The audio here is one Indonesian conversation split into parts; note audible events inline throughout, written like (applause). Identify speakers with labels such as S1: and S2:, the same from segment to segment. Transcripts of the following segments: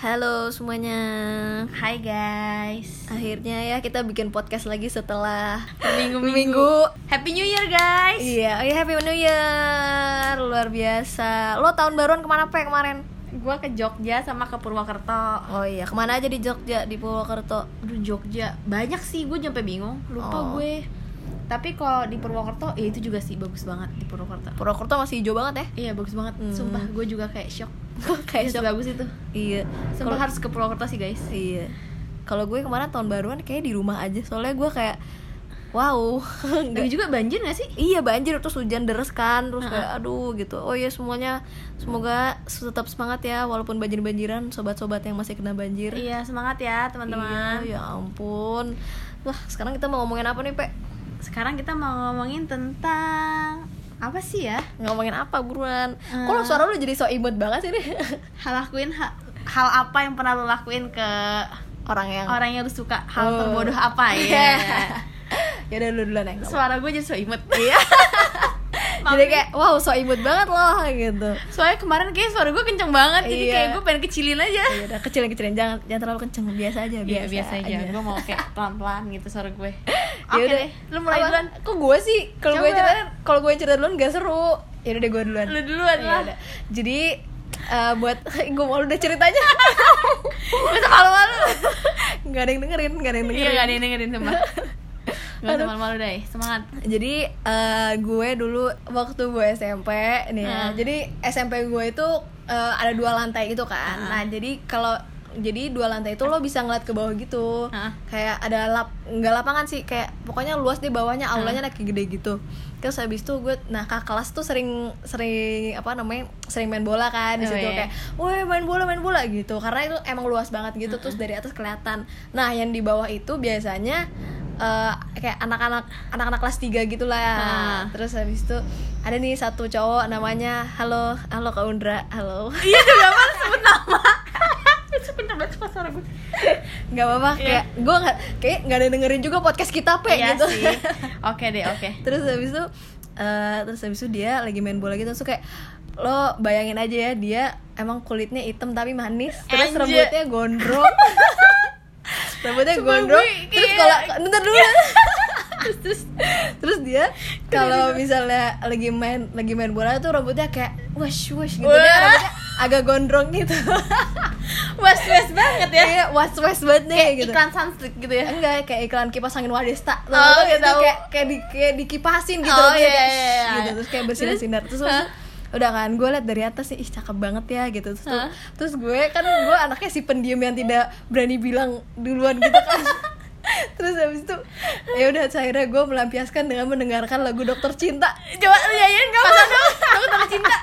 S1: Halo semuanya.
S2: Hai guys.
S1: Akhirnya ya kita bikin podcast lagi setelah
S2: Minggu-minggu.
S1: minggu.
S2: Happy New Year guys.
S1: Iya, oh iya, Happy New Year. Luar biasa. Lo tahun baruan kemana pe kemarin?
S2: Gua ke Jogja sama ke Purwokerto.
S1: Oh iya, kemana aja di Jogja di Purwokerto?
S2: Aduh Jogja banyak sih gue nyampe bingung. Lupa
S1: Oh.
S2: gue. Tapi kalau di Purwokerto, ya itu juga sih bagus banget di Purwokerto.
S1: Purwokerto masih hijau banget ya?
S2: Iya bagus banget.
S1: Hmm.
S2: Sumpah gue juga (laughs) kayak shock.
S1: Kayak shock.
S2: bagus itu.
S1: Iya.
S2: Sumpah
S1: Kalau-
S2: harus ke Purwokerto sih guys.
S1: Iya. Kalau gue kemarin tahun baruan kayak di rumah aja. Soalnya gue kayak wow. (laughs) nggak-
S2: Tapi juga banjir gak sih?
S1: Iya banjir terus hujan deres kan terus
S2: Ha-ha.
S1: kayak aduh gitu. Oh iya semuanya semoga tetap semangat ya walaupun banjir-banjiran sobat-sobat yang masih kena banjir.
S2: Iya semangat ya teman-teman.
S1: Iya, ya ampun. Wah, sekarang kita mau ngomongin apa nih, Pe?
S2: Sekarang kita mau ngomongin tentang apa sih ya?
S1: Ngomongin apa buruan?
S2: Eh.
S1: Kok lo suara lo jadi so imut banget sih nih?
S2: Hal lakuin ha- hal apa yang pernah lo lakuin ke
S1: Orang yang
S2: orang yang lu suka hal
S1: Oh.
S2: terbodoh apa (laughs) ya
S1: Iya. ya udah lu duluan yang
S2: suara gue jadi so (laughs) imut
S1: Iya. jadi kayak wow, so imut banget loh gitu.
S2: soalnya kemarin kayak suara gue kenceng banget jadi
S1: Iya.
S2: kayak gue pengen kecilin aja
S1: Ya udah kecilin-kecilin jangan jangan terlalu kenceng, biasa aja,
S2: Iya biasa aja, gue mau kayak pelan-pelan gitu suara (laughs) gue Oke
S1: Oke
S2: deh, lu mulai duluan
S1: Kok gue sih? Kalau gue
S2: Coba.
S1: cerita kalau gue cerita duluan gak seru. Ya udah deh gue duluan.
S2: Lu duluan
S1: Iya,
S2: lah
S1: udah. Jadi eh, buat (laughs) gue mau udah
S2: (laughs)
S1: ceritanya.
S2: Gue tuh
S1: (laughs)
S2: malu-malu
S1: Gak ada yang dengerin, gak ada yang dengerin.
S2: Iya gak ada yang dengerin (laughs) sumpah Gak usah malu-malu deh, (laughs) semangat
S1: Jadi eh, gue dulu waktu gue SMP nih ya.
S2: Ah.
S1: Jadi SMP gue itu eh, ada dua lantai gitu kan.
S2: Hmm.
S1: Nah, jadi kalau jadi dua lantai itu lo bisa ngeliat ke bawah gitu.
S2: Ah.
S1: Kayak ada lap nggak lapangan sih, kayak pokoknya luas di bawahnya
S2: Hmm.
S1: aulanya kayak gede gitu. Terus habis itu gue nah kakak kelas tuh sering sering apa namanya? sering main bola kan di
S2: Oh,
S1: situ
S2: iya.
S1: kayak woi main bola main bola gitu karena itu emang luas banget gitu terus dari atas kelihatan nah yang di bawah itu biasanya eh, kayak anak-anak anak-anak kelas 3 gitulah
S2: Ah.
S1: terus habis itu ada nih satu cowok namanya halo halo kak Undra halo
S2: Iya. Cepet banget sumpah suara gue
S1: nggak apa-apa
S2: Iya.
S1: kayak gue nggak kayak nggak ada yang dengerin juga podcast kita pe
S2: Iya
S1: gitu
S2: sih Oke deh, (laughs) oke
S1: terus habis itu eh, terus habis itu dia lagi main bola gitu terus kayak lo bayangin aja ya dia emang kulitnya hitam tapi manis terus
S2: Anjir.
S1: rambutnya
S2: (laughs)
S1: gondrong rambutnya
S2: Sumpah
S1: gondrong
S2: gue
S1: terus
S2: kayak-
S1: kalau bentar
S2: (laughs)
S1: dulu
S2: Terus, terus
S1: terus dia kalau misalnya lagi main lagi main bola tuh rambutnya kayak wash wash gitu dia
S2: Wah.
S1: rambutnya agak gondrong gitu
S2: Was-was banget ya
S1: (laughs) kayak was was banget deh gitu
S2: Iklan sunstick gitu ya
S1: enggak kayak iklan kipas angin Wadesta
S2: Oh,
S1: Tau
S2: iya
S1: gitu
S2: tahu.
S1: kayak kayak di kayak dikipasin gitu
S2: Oh,
S1: rambutnya
S2: iya,
S1: kayak
S2: iya,
S1: shhh
S2: iya.
S1: gitu terus kayak bersinar-sinar terus habis itu, udah kan gue liat dari atas sih ih cakep banget ya gitu terus tuh-
S2: Hah?
S1: terus gue kan gue anaknya si pendiam yang tidak berani bilang duluan gitu
S2: (laughs)
S1: kan terus habis itu ya udah akhirnya gue melampiaskan dengan mendengarkan lagu dokter cinta
S2: Coba lu nyanyiin kamu Pasang dong Aku tak (laughs) cinta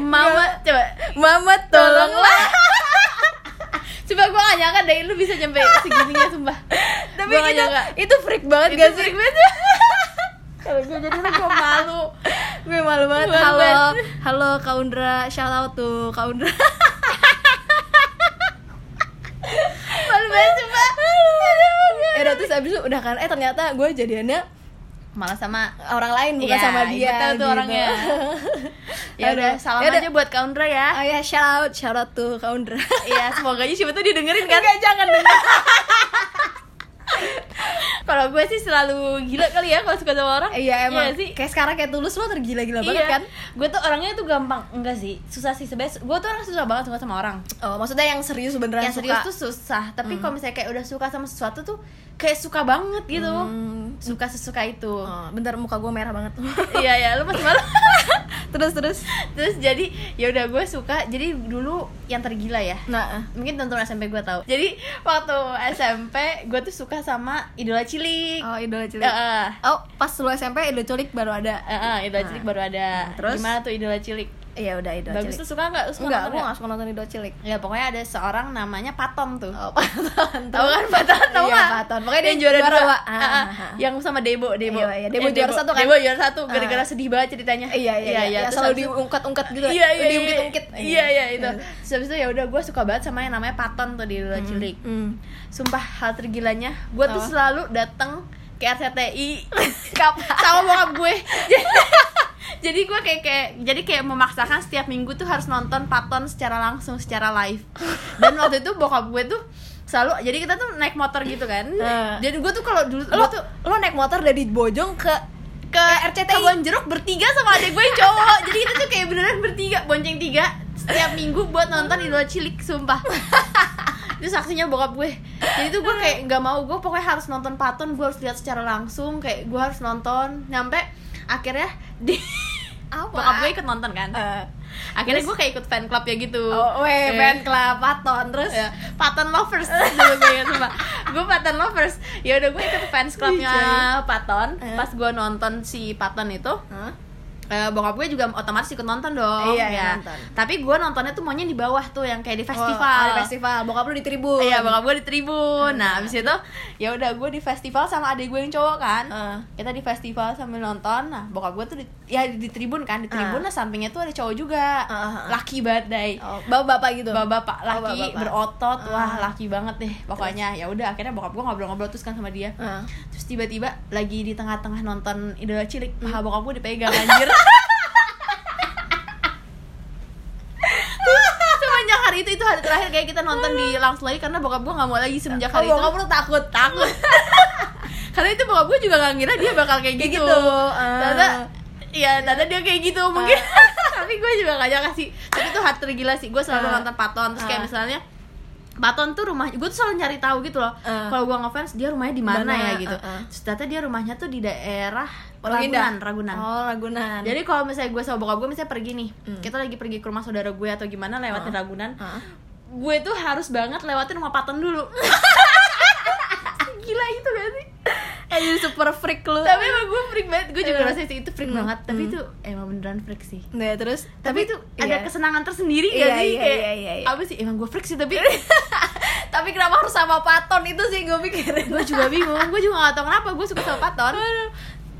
S2: Mama Coba
S1: mama tolonglah
S2: (laughs) Coba gue gak nyangka deh Lu bisa nyampe segininya sumpah
S1: tapi
S2: Gua nggak
S1: itu
S2: nyangka.
S1: itu freak banget ya.
S2: Itu
S1: gak sih
S2: freak (laughs) banget. Kalau gue jadi lu gue malu
S1: gue malu banget
S2: Malu
S1: halo
S2: banget.
S1: halo kaundra shout out tuh kaundra
S2: Malu banget coba
S1: ya udah terus abis itu udah kan eh ternyata gue jadiannya
S2: Malah sama
S1: orang lain bukan
S2: Iya,
S1: sama dia
S2: gue tahu tuh
S1: gitu. (laughs)
S2: orangnya. Ya
S1: Aduh.
S2: udah salam
S1: Ya udah.
S2: aja buat Kaundra
S1: (laughs)
S2: ya
S1: oh ya shout out shout out tuh kaundra
S2: Iya semoga aja siapa tuh dia dengerin kan
S1: Enggak, jangan dengar
S2: (laughs) Kalau gue sih selalu gila kali ya kalau suka sama orang
S1: iya emang
S2: sih Iya.
S1: kayak sekarang kayak tulus lo tergila-gila banget kan
S2: Gue tuh orangnya tuh gampang enggak sih. Susah sih sebenarnya. Gue tuh orang susah banget suka sama orang.
S1: oh maksudnya yang serius beneran
S2: yang serius
S1: suka. Hmm.
S2: tuh susah. Tapi kalau misalnya kayak udah suka sama sesuatu tuh kayak suka banget gitu.
S1: Hmm.
S2: Suka sesuka itu.
S1: Oh, bentar muka gue merah banget
S2: (laughs) Iya ya, lu masih malu. (laughs)
S1: terus terus
S2: Terus jadi ya udah gue suka. Jadi dulu yang tergila ya.
S1: nah eh.
S2: Mungkin tonton SMP gue tahu. Jadi waktu SMP gue tuh suka sama idola cilik.
S1: oh idola cilik
S2: Heeh.
S1: oh pas lu SMP idola cilik baru ada
S2: Heeh, idola cilik baru
S1: Nah,
S2: ada.
S1: terus?
S2: Gimana tuh idola cilik?
S1: iya udah idola
S2: Bagus
S1: cilik
S2: tuh suka nggak? Lu suka
S1: enggak
S2: nonton
S1: gue nggak suka nonton idola cilik
S2: Ya pokoknya ada seorang namanya Patom tuh. (laughs)
S1: oh paton
S2: Tahu kan Paton? Tahu
S1: Iya,
S2: nggak?
S1: Paton. Pokoknya dia
S2: Yang juara
S1: juara
S2: dua.
S1: dua.
S2: Ah,
S1: Ah,
S2: ah.
S1: ah.
S2: Yang sama Debo, Debo.
S1: Iya, iya. Debo
S2: Eh,
S1: juara satu kan?
S2: Debo juara satu
S1: Ah.
S2: gara-gara sedih banget ceritanya.
S1: iya iya iya,
S2: Terus
S1: selalu
S2: habis itu-
S1: diungkat-ungkat gitu
S2: Iya, iya, iya.
S1: diungkit-ungkit
S2: Iya, iya, itu. Terus habis itu ya udah gue suka banget sama yang namanya Paton tuh di Lula Cilik.
S1: Hmm.
S2: Sumpah hal tergilanya, gue tuh
S1: Apa?
S2: selalu datang ke RCTI Kap- sama bokap gue. Jadi- (laughs) jadi gue kayak kayak jadi kayak memaksakan setiap minggu tuh harus nonton Paton secara langsung secara live dan waktu itu bokap gue tuh selalu jadi kita tuh naik motor gitu kan
S1: Nah.
S2: jadi gue tuh kalau dulu
S1: lo
S2: gua tuh
S1: lo naik motor dari Bojong ke
S2: ke RCTI Kebon Jeruk bertiga sama adek gue yang cowok jadi kita tuh kayak beneran bertiga bonceng tiga setiap minggu buat nonton Idola Cilik sumpah itu saksinya bokap gue jadi tuh gue kayak nggak mau gue pokoknya harus nonton paton gue harus lihat secara langsung kayak gue harus nonton nyampe akhirnya di bokap gue ikut nonton kan
S1: Eh,
S2: akhirnya gue kayak ikut fan club ya gitu
S1: oh, weh,
S2: Eh,
S1: band club Paton terus
S2: Ya, Paton Lovers dulu gue ingat sumpah. Gue Paton Lovers. Ya udah gue ikut fans clubnya
S1: Ijay.
S2: Paton.
S1: Eh.
S2: Pas gue nonton si Paton itu,
S1: Hah?
S2: eh, bokap gue juga otomatis ikut nonton dong.
S1: Iya, iya,
S2: ya.
S1: nonton.
S2: Tapi gue nontonnya tuh maunya di bawah tuh yang kayak di festival.
S1: Oh, ada festival Iya. bokap lu di tribun
S2: Iya, bokap gue di tribun. Nah, abis itu ya udah gue di festival sama adik gue yang cowok kan.
S1: Eh.
S2: Kita di festival sambil nonton. Nah, bokap gue tuh di, ya di tribun kan, di
S1: Eh.
S2: tribun. Nah, sampingnya tuh ada cowok juga.
S1: Eh, eh, eh.
S2: Laki banget, Day
S1: oh, bapak bapak gitu
S2: bapak-bapak
S1: Oh,
S2: laki
S1: bapak-bapak.
S2: berotot wah
S1: Ah.
S2: laki banget deh pokoknya ya udah akhirnya bokap gue ngobrol-ngobrol terus kan sama dia
S1: Ah.
S2: terus tiba-tiba lagi di tengah-tengah nonton idola cilik paha bokap gue (laughs) dipegang anjir Terus, semenjak hari itu itu hari terakhir kayak kita nonton di langsung lagi karena bokap gue nggak mau lagi semenjak
S1: Oh,
S2: hari itu
S1: bokap lu takut
S2: takut karena itu bokap gue juga nggak ngira dia bakal kayak
S1: Kayak
S2: gitu,
S1: gitu, ah.
S2: Ternyata ya ternyata dia kayak gitu mungkin (laughs) tapi gue juga gak nyangka sih tapi itu hard tergila sih gue selalu
S1: Ah.
S2: nonton Paton terus kayak
S1: Ah.
S2: misalnya Paton tuh rumah gue tuh selalu nyari tahu gitu loh
S1: Ah.
S2: kalau gue ngefans dia rumahnya di mana
S1: Mana,
S2: ya gitu
S1: ah, ah.
S2: terus ternyata dia rumahnya tuh di daerah
S1: Pondok
S2: Ragunan
S1: Indah.
S2: Ragunan
S1: oh Ragunan
S2: jadi kalau misalnya gue sama bokap gue misalnya pergi nih
S1: Hmm.
S2: kita lagi pergi ke rumah saudara gue atau gimana lewatin
S1: Ah.
S2: Ragunan
S1: Hah?
S2: gue tuh harus banget lewatin rumah Paton dulu gila
S1: gitu
S2: itu gak sih
S1: eh jadi super freak lu
S2: tapi emang gue freak banget gue juga
S1: Iya.
S2: rasa sih itu freak banget tapi itu emang beneran freak sih
S1: Nah, terus
S2: tapi, Hmm. itu ada
S1: iya.
S2: kesenangan tersendiri
S1: Iya,
S2: gak sih
S1: iya,
S2: Kayak,
S1: iya, iya, iya.
S2: apa sih emang gue freak sih (laughs) tapi
S1: (laughs) tapi kenapa harus sama Paton itu sih gue pikirin
S2: gue juga bingung gue juga gak tau kenapa gue suka sama Paton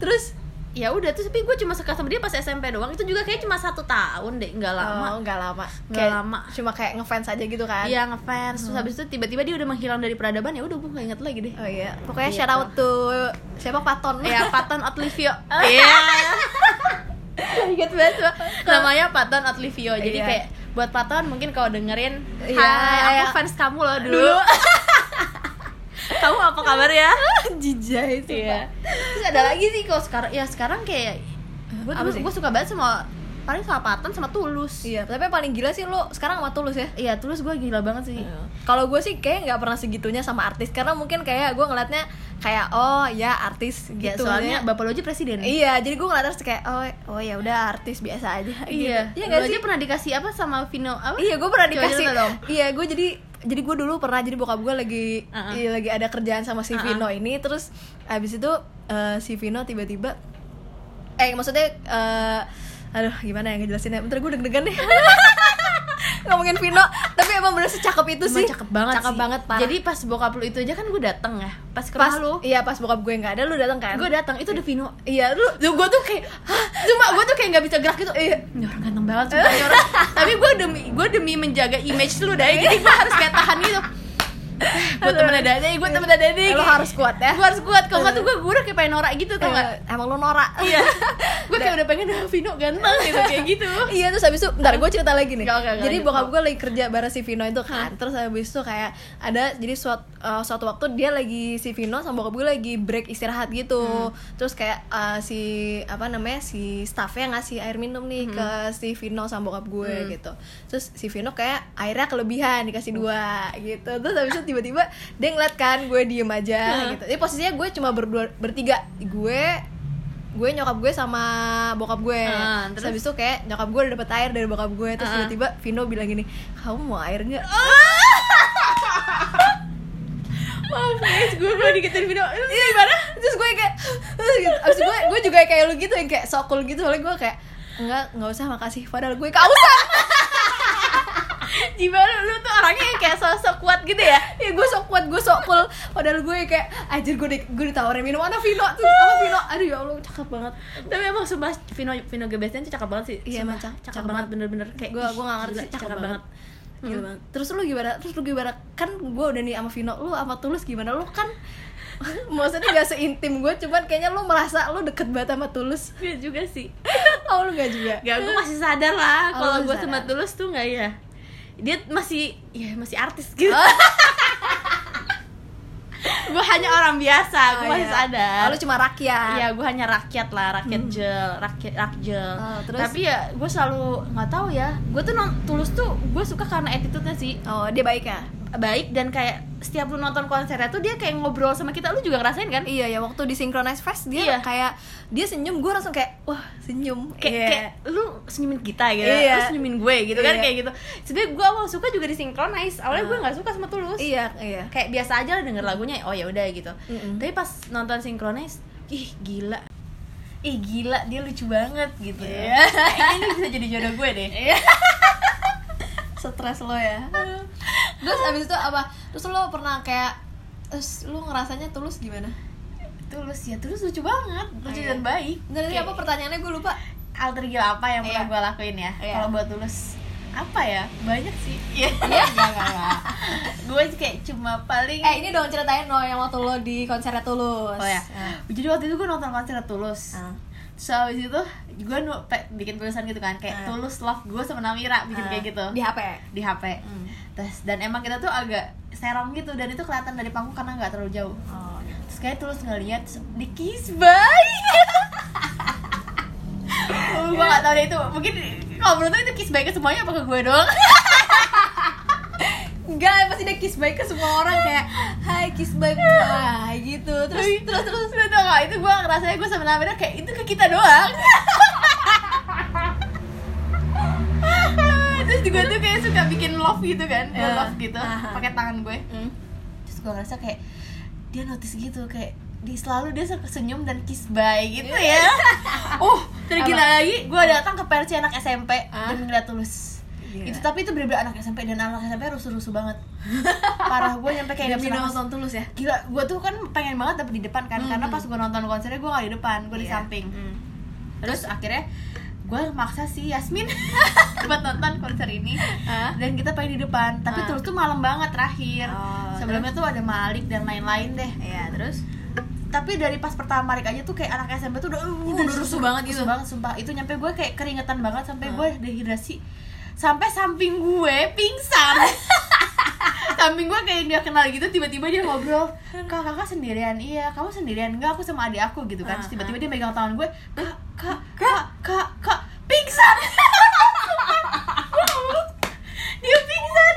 S1: terus
S2: ya udah terus tapi gue cuma suka sama dia pas SMP doang itu juga kayak cuma satu tahun deh nggak lama
S1: oh, nggak lama
S2: Nggak
S1: Kayak
S2: lama.
S1: cuma kayak ngefans aja gitu kan
S2: Iya ngefans terus habis itu tiba-tiba dia udah menghilang dari peradaban ya udah gue gak inget lagi deh
S1: oh iya pokoknya
S2: Gitu.
S1: shout out to siapa Paton (laughs)
S2: ya Paton Otlivio (laughs) iya inget banget gua. (laughs) namanya Paton Otlivio jadi
S1: Iya.
S2: kayak buat Paton mungkin kau dengerin
S1: Iya,
S2: Hai
S1: iya.
S2: aku fans kamu loh dulu, (laughs) kamu apa kabar (laughs) ya
S1: jijai itu
S2: iya terus ada lagi sih kalau sekarang ya sekarang kayak gue
S1: Apa sih?
S2: gue suka banget sama paling sama Paton sama Tulus
S1: iya tapi yang paling gila sih lo sekarang sama Tulus ya
S2: Iya, Tulus gue gila banget sih
S1: Iya. Kalau gue sih kayak nggak pernah segitunya sama artis karena mungkin kayak gue ngeliatnya kayak oh ya artis gitu.
S2: Ya, soalnya
S1: maksudnya.
S2: bapak lo aja presiden
S1: iya, jadi gue ngeliatnya terus kayak oh oh ya udah artis biasa aja.
S2: Iya,
S1: gitu. iya
S2: iya
S1: nggak sih?
S2: aja pernah dikasih apa Oh, sama Vino apa?
S1: Iya, gue pernah
S2: Coba
S1: dikasih.
S2: cerita dong.
S1: Iya, gue jadi jadi gue dulu pernah jadi bokap gue lagi
S2: Uh-uh.
S1: iya, lagi ada kerjaan sama si
S2: Uh-uh.
S1: Vino ini terus abis itu eh, si Vino tiba-tiba eh maksudnya eh, aduh gimana ya ngejelasinnya bentar gue deg-degan deh (laughs) ngomongin Vino tapi emang bener secakep itu
S2: Emang
S1: sih
S2: cakep banget
S1: cakep
S2: sih.
S1: banget parah.
S2: Jadi pas bokap lu itu aja kan gue dateng ya. Pas ke
S1: pas
S2: rumah lu.
S1: iya pas bokap gue nggak ada lu datang kan
S2: Gue dateng itu udah Vino.
S1: iya lu
S2: Lu gue tuh kayak "Hah?" cuma gue tuh kayak nggak bisa gerak gitu.
S1: Iya.
S2: Ini orang ganteng banget sumpah ini (laughs) orang. Tapi gue demi gue demi menjaga image lu dari jadi gue harus kayak tahan gitu. gue temen ada deh, gue temen ada deh.
S1: lu harus kuat ya
S2: Gue harus kuat. Kalau nggak tuh gue gue udah kayak pengen norak gitu tau nggak?
S1: Eh, emang lu norak
S2: (laughs) Iya. gue kayak udah pengen "Ah, Vino ganteng gitu kayak (laughs) gitu.
S1: iya terus habis itu bentar gue cerita lagi nih
S2: Gak, gak, gak,
S1: jadi
S2: lanjut. Nah.
S1: bokap gue lagi kerja bareng si Vino itu kan terus habis itu kayak ada jadi suat- eh, suatu waktu dia lagi si Vino sama bokap gue lagi break istirahat gitu
S2: Hmm.
S1: terus kayak eh, si apa namanya si staffnya ngasih air minum nih ke
S2: Hmm.
S1: si Vino sama bokap gue gitu terus si Vino kayak airnya kelebihan
S2: Hmm.
S1: dikasih dua gitu terus habis itu tiba-tiba dia ngeliat kan gue diem aja gitu jadi posisinya gue cuma berdua bertiga gue gue nyokap gue sama bokap gue
S2: Ah,
S1: terus
S2: terus?
S1: habis itu kayak nyokap gue udah dapet air dari bokap gue terus
S2: Ah, ah.
S1: tiba-tiba Vino bilang gini kamu mau air nggak (laughs)
S2: Maaf guys, gue gue dikitin Vino.
S1: Iya, gimana terus gue kayak (laughs) terus gitu. abis itu gue gue juga kayak lu gitu yang kayak sokul gitu soalnya gue kayak enggak nggak usah makasih padahal gue
S2: (laughs)
S1: kausan
S2: Jiwa lu, lu tuh orangnya yang kayak sosok kuat gitu
S1: (laughs)
S2: ya
S1: ya gue sok kuat gue sok cool padahal gue kayak anjir gue di- gue ditawarin minum mana Vino terus sama Vino aduh ya allah cakep banget
S2: Tapi emang sumpah Vino, Vino Gebestian tuh cakep banget sih
S1: Iya,
S2: Sumpah,
S1: emang cakep-
S2: cakep,
S1: cakep
S2: banget bener-bener kayak
S1: gue
S2: ih,
S1: gue nggak ngerti
S2: gila,
S1: sih, cakep, banget, Gila
S2: Mm.
S1: Gitu banget. terus lu gimana terus lu gimana kan gue udah nih sama Vino lu sama Tulus gimana lu kan (laughs) maksudnya gak seintim gue cuman kayaknya lu merasa lu deket banget sama Tulus
S2: Iya juga sih
S1: oh lu gak juga
S2: Gak,
S1: (laughs)
S2: gue masih sadar lah
S1: Oh,
S2: kalau
S1: lu
S2: gue
S1: sadar.
S2: sama Tulus tuh gak ya Dia masih, ya masih artis gitu
S1: Oh.
S2: (laughs) Gue hanya orang biasa, gue
S1: Oh,
S2: masih
S1: iya.
S2: sadar
S1: oh, lu cuma rakyat
S2: Iya, gue hanya rakyat lah, rakyat
S1: Hmm.
S2: jel, rakyat rakjel.
S1: Oh, terus?
S2: Tapi ya gue selalu nggak tahu ya. Gue tuh non- tulus tuh gue suka karena attitude-nya sih
S1: oh dia baik ya
S2: baik dan kayak setiap lu nonton konsernya tuh dia kayak ngobrol sama kita. Lu juga ngerasain kan?
S1: iya ya waktu di synchronize fest dia
S2: Iya.
S1: kayak dia senyum gue langsung kayak wah senyum
S2: Kayak,
S1: Iya.
S2: kayak lu senyumin kita gitu,
S1: Iya.
S2: lu senyumin gue gitu kan
S1: Iya. Ah.
S2: kayak gitu. Sebenernya gue awal suka juga di synchronize. Awalnya gue nggak suka sama tulus.
S1: iya iya
S2: Kayak biasa aja lah denger lagunya, oh ya udah gitu.
S1: Mm-mm.
S2: Tapi pas nonton synchronize, ih gila. Ih gila, dia lucu banget gitu.
S1: Iya.
S2: ya (laughs) Kayaknya ini bisa jadi jodoh gue deh.
S1: stres lo ya terus abis itu apa terus lo pernah kayak terus lu ngerasanya tulus gimana
S2: Tulus ya, Tulus lucu banget, lucu
S1: Iya.
S2: dan baik.
S1: Nggak, tadi
S2: Kayak
S1: apa pertanyaannya gue lupa
S2: alter gila apa yang pernah
S1: Iya.
S2: gue lakuin ya?
S1: Iya.
S2: Kalau buat Tulus apa ya? Banyak sih. (laughs) Iya. Enggak, enggak, enggak. Gue kayak cuma paling
S1: eh ini dong ceritain no yang waktu lo di konsernya tulus
S2: Oh ya. Jadi waktu itu gue nonton konser Tulus.
S1: Ah.
S2: Terus abis itu gue nu- pe- bikin tulisan gitu kan kayak
S1: Ah.
S2: Tulus love gue sama Namira bikin
S1: Ah,
S2: kayak gitu
S1: di HP
S2: di HP.
S1: Hmm.
S2: Terus dan emang kita tuh agak serong gitu dan itu kelihatan dari panggung karena nggak terlalu jauh.
S1: oh
S2: Terus kayak Tulus ngeliat terus di kiss bye.
S1: (laughs)
S2: Oh, gue gak tau deh itu mungkin kalau menurut lu itu kiss bye ke semuanya apa ke gue doang
S1: Enggak, pasti dia kiss baik ke semua orang kayak Hai kiss baik bye gitu Terus
S2: terus terus lu tau gak itu gue ngerasanya gue sama Namira kayak itu ke kita doang (laughs) terus juga tuh kayak suka bikin love gitu kan gue
S1: Iya.
S2: love gitu
S1: Aha.
S2: pakai tangan gue
S1: hmm.
S2: terus gue ngerasa kayak dia notice gitu kayak dia selalu dia suka senyum dan kiss bye gitu ya (laughs) uh tergila
S1: Apa?
S2: lagi gue datang ke Persi anak SMP
S1: Ah.
S2: dan ngeliat tulus
S1: Gila.
S2: itu tapi itu bener-bener anak SMP dan anak SMP rusuh-rusuh (laughs) banget parah gue nyampe
S1: Kayak
S2: kayak gak
S1: Demi
S2: bisa nafas.
S1: nonton tulus ya
S2: gila gue tuh kan pengen banget dapet di depan kan
S1: Hmm.
S2: karena pas gue nonton konsernya gue gak di depan gue di
S1: Iya.
S2: samping
S1: Hmm.
S2: terus akhirnya gue maksa si Yasmin (laughs) buat nonton konser ini
S1: Hah?
S2: dan kita pengen di depan
S1: Ah.
S2: tapi terus tuh malam banget terakhir
S1: Oh,
S2: sebelumnya tuh ada Malik dan lain-lain deh
S1: Iya, terus?
S2: tapi dari pas pertama Malik aja tuh kayak anak SMP tuh udah uh,
S1: udah rusuh banget gitu.
S2: rusuh banget sumpah itu nyampe gue kayak keringetan banget sampai
S1: Hmm.
S2: gue dehidrasi sampai samping gue pingsan (laughs) samping gue kayak dia kenal gitu tiba-tiba dia ngobrol kak kakak sendirian iya kamu sendirian enggak aku sama adik aku gitu kan Terus
S1: Ah,
S2: tiba-tiba dia megang tangan gue kak kak kak kak kak pingsan (laughs) dia pingsan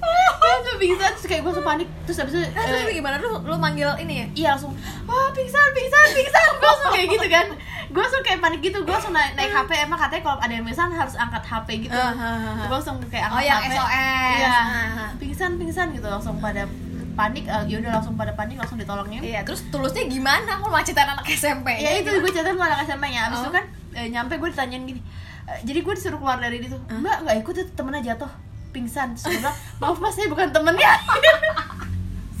S2: dia tuh pingsan terus kayak gue sumpah panik terus abis itu
S1: Nah, terus
S2: eh,
S1: lu gimana? Lu, lu manggil ini ya?
S2: iya langsung wah pingsan pingsan pingsan gue langsung kayak gitu kan gue langsung kayak panik gitu gue langsung naik, naik HP emang katanya kalau ada yang pingsan harus angkat HP gitu
S1: Ah, ah, ah.
S2: gue langsung kayak angkat
S1: Oh, yang
S2: HP.
S1: SOS.
S2: iya
S1: Ah, ah.
S2: pingsan pingsan gitu langsung pada panik ya udah langsung pada panik langsung ditolongin
S1: Iya, terus tulusnya gimana? Aku macetan anak SMP
S2: ya itu gue catat malah SMA nya abis
S1: Oh.
S2: itu kan eh, nyampe gue ditanyain gini eh, jadi gue disuruh keluar dari itu
S1: Ah.
S2: mbak nggak ikut itu temennya jatuh pingsan Terus gue bilang maaf mas saya bukan temennya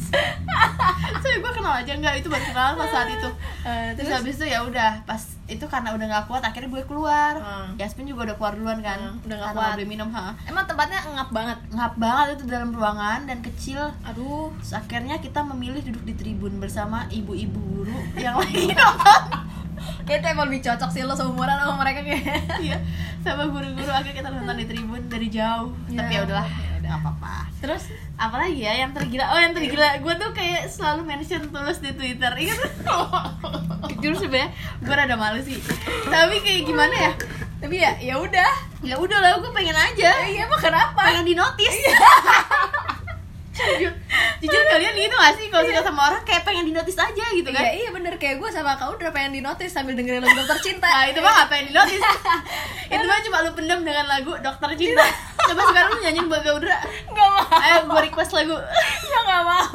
S2: (laughs) saya gue kenal aja nggak itu baru kenal pas saat itu
S1: Eh,
S2: terus,
S1: terus?
S2: habis itu ya udah pas itu karena udah nggak kuat akhirnya gue keluar
S1: Hmm.
S2: Yasmin juga udah keluar duluan kan
S1: Hmm, udah nggak
S2: Karena
S1: kuat.
S2: beli minum ha
S1: Emang tempatnya ngap banget?
S2: ngap banget itu dalam ruangan dan kecil
S1: Aduh
S2: Terus akhirnya kita memilih duduk di tribun bersama ibu-ibu
S1: (laughs)
S2: guru yang lagi nonton
S1: Kayaknya tuh emang lebih cocok sih lo seumuran sama mereka kayak
S2: Iya, sama guru-guru akhirnya kita nonton di tribun dari jauh.
S1: Ya.
S2: Tapi ya udahlah, nggak apa-apa.
S1: Terus? Iya.
S2: Apalagi ya yang tergila? Oh yang tergila, gue tuh kayak selalu mention tulus di Twitter. Ingat?
S1: (laughs)
S2: Jujur sebenarnya gue rada malu sih. Tapi kayak gimana ya?
S1: Tapi ya, ya udah
S2: Ya udah lah, gue pengen aja.
S1: Iya, emang kenapa?
S2: Pengen di notis. (laughs) Jujur, jujur kalian gitu gak sih kalau suka sama orang kayak pengen di notis aja gitu kan?
S1: Iya, iya bener Kayak gue sama kau udah pengen di notice sambil dengerin lagu dokter cinta
S2: Nah, itu mah ngapain di notis Itu mah cuma lu pendam dengan lagu Dokter Cinta Coba sekarang lu nyanyiin buat Gaudra
S1: Gak mau
S2: Ayo gue request lagu
S1: Ya gak mau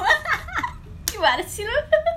S2: Gimana sih lu?